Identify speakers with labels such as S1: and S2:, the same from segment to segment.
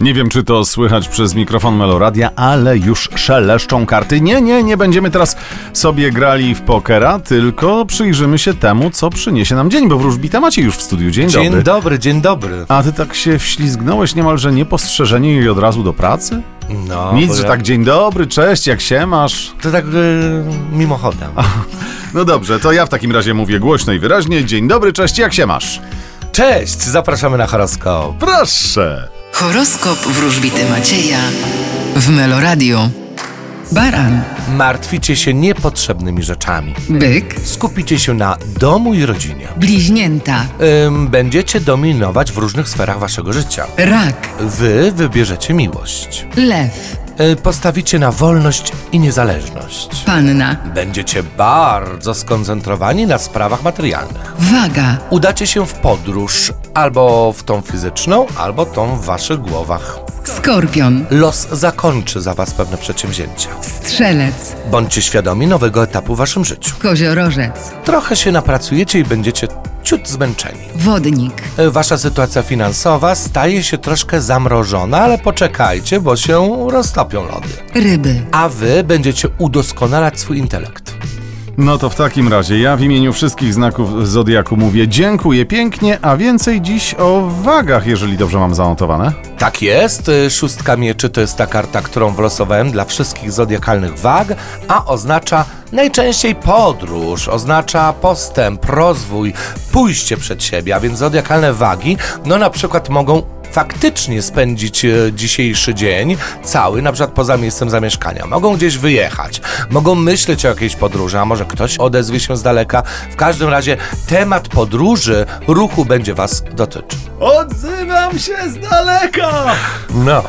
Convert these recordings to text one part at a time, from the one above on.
S1: Nie wiem, czy to słychać przez mikrofon Meloradia, ale już szeleszczą karty. Nie, nie, nie będziemy teraz sobie grali w pokera, tylko przyjrzymy się temu, co przyniesie nam dzień, bo wróżbita macie już w studiu. Dzień,
S2: Dzień
S1: dobry.
S2: dobry. dzień dobry.
S1: A ty tak się wślizgnąłeś niemalże niepostrzeżenie i od razu do pracy?
S2: No,
S1: Nic,
S2: bo
S1: że
S2: ja-
S1: tak dzień dobry, cześć, jak się masz?
S2: To tak y, mimochodem.
S1: No dobrze, to ja w takim razie mówię głośno i wyraźnie. Dzień dobry, cześć, jak się masz?
S2: Cześć, zapraszamy na horoskop.
S1: Proszę!
S3: Horoskop wróżbity Macieja w Meloradio. Baran,
S2: Martwicie się niepotrzebnymi rzeczami.
S3: byk,
S2: Skupicie się na domu i rodzinie.
S3: bliźnięta,
S2: Ym, będziecie dominować w różnych sferach waszego życia.
S3: rak,
S2: Wy wybierzecie miłość.
S3: lew,
S2: Y, postawicie na wolność i niezależność.
S3: panna,
S2: Będziecie bardzo skoncentrowani na sprawach materialnych.
S3: waga,
S2: Udacie się w podróż, albo w tą fizyczną, albo tą w waszych głowach.
S3: skorpion,
S2: Los zakończy za was pewne przedsięwzięcia.
S3: strzelec,
S2: Bądźcie świadomi nowego etapu w waszym życiu.
S3: koziorożec,
S2: Trochę się napracujecie i będziecie ciut zmęczeni.
S3: wodnik,
S2: E, Wasza sytuacja finansowa staje się troszkę zamrożona, ale poczekajcie, bo się roztopią lody.
S3: ryby.
S2: A wy będziecie udoskonalać swój intelekt.
S1: No to w takim razie ja w imieniu wszystkich znaków Zodiaku mówię dziękuję pięknie, a więcej dziś o wagach, jeżeli dobrze mam zanotowane.
S2: Tak jest, y, szóstka mieczy to jest ta karta, którą wlosowałem dla wszystkich zodiakalnych wag, a oznacza najczęściej podróż, oznacza postęp, rozwój, pójście przed siebie, a więc zodiakalne wagi, no na przykład mogą faktycznie spędzić e, dzisiejszy dzień cały, na przykład poza miejscem zamieszkania. Mogą gdzieś wyjechać, mogą myśleć o jakiejś podróży, a może ktoś odezwie się z daleka. W każdym razie temat podróży, ruchu będzie Was dotyczył.
S1: Odzywam się z daleka!
S2: No.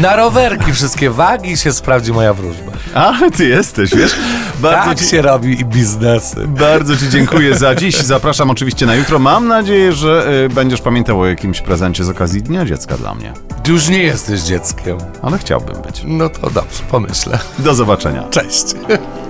S2: Na rowerki wszystkie wagi się sprawdzi moja wróżba.
S1: Ale ty jesteś, wiesz? Bardzo,
S2: tak
S1: ci,
S2: się robi i biznesy.
S1: bardzo ci dziękuję za dziś. Zapraszam oczywiście na jutro. Mam nadzieję, że y, będziesz pamiętał o jakimś prezencie z okazji Dnia Dziecka dla mnie.
S2: Już nie jesteś dzieckiem.
S1: Ale chciałbym być.
S2: No to dobrze, pomyślę.
S1: Do zobaczenia.
S2: Cześć.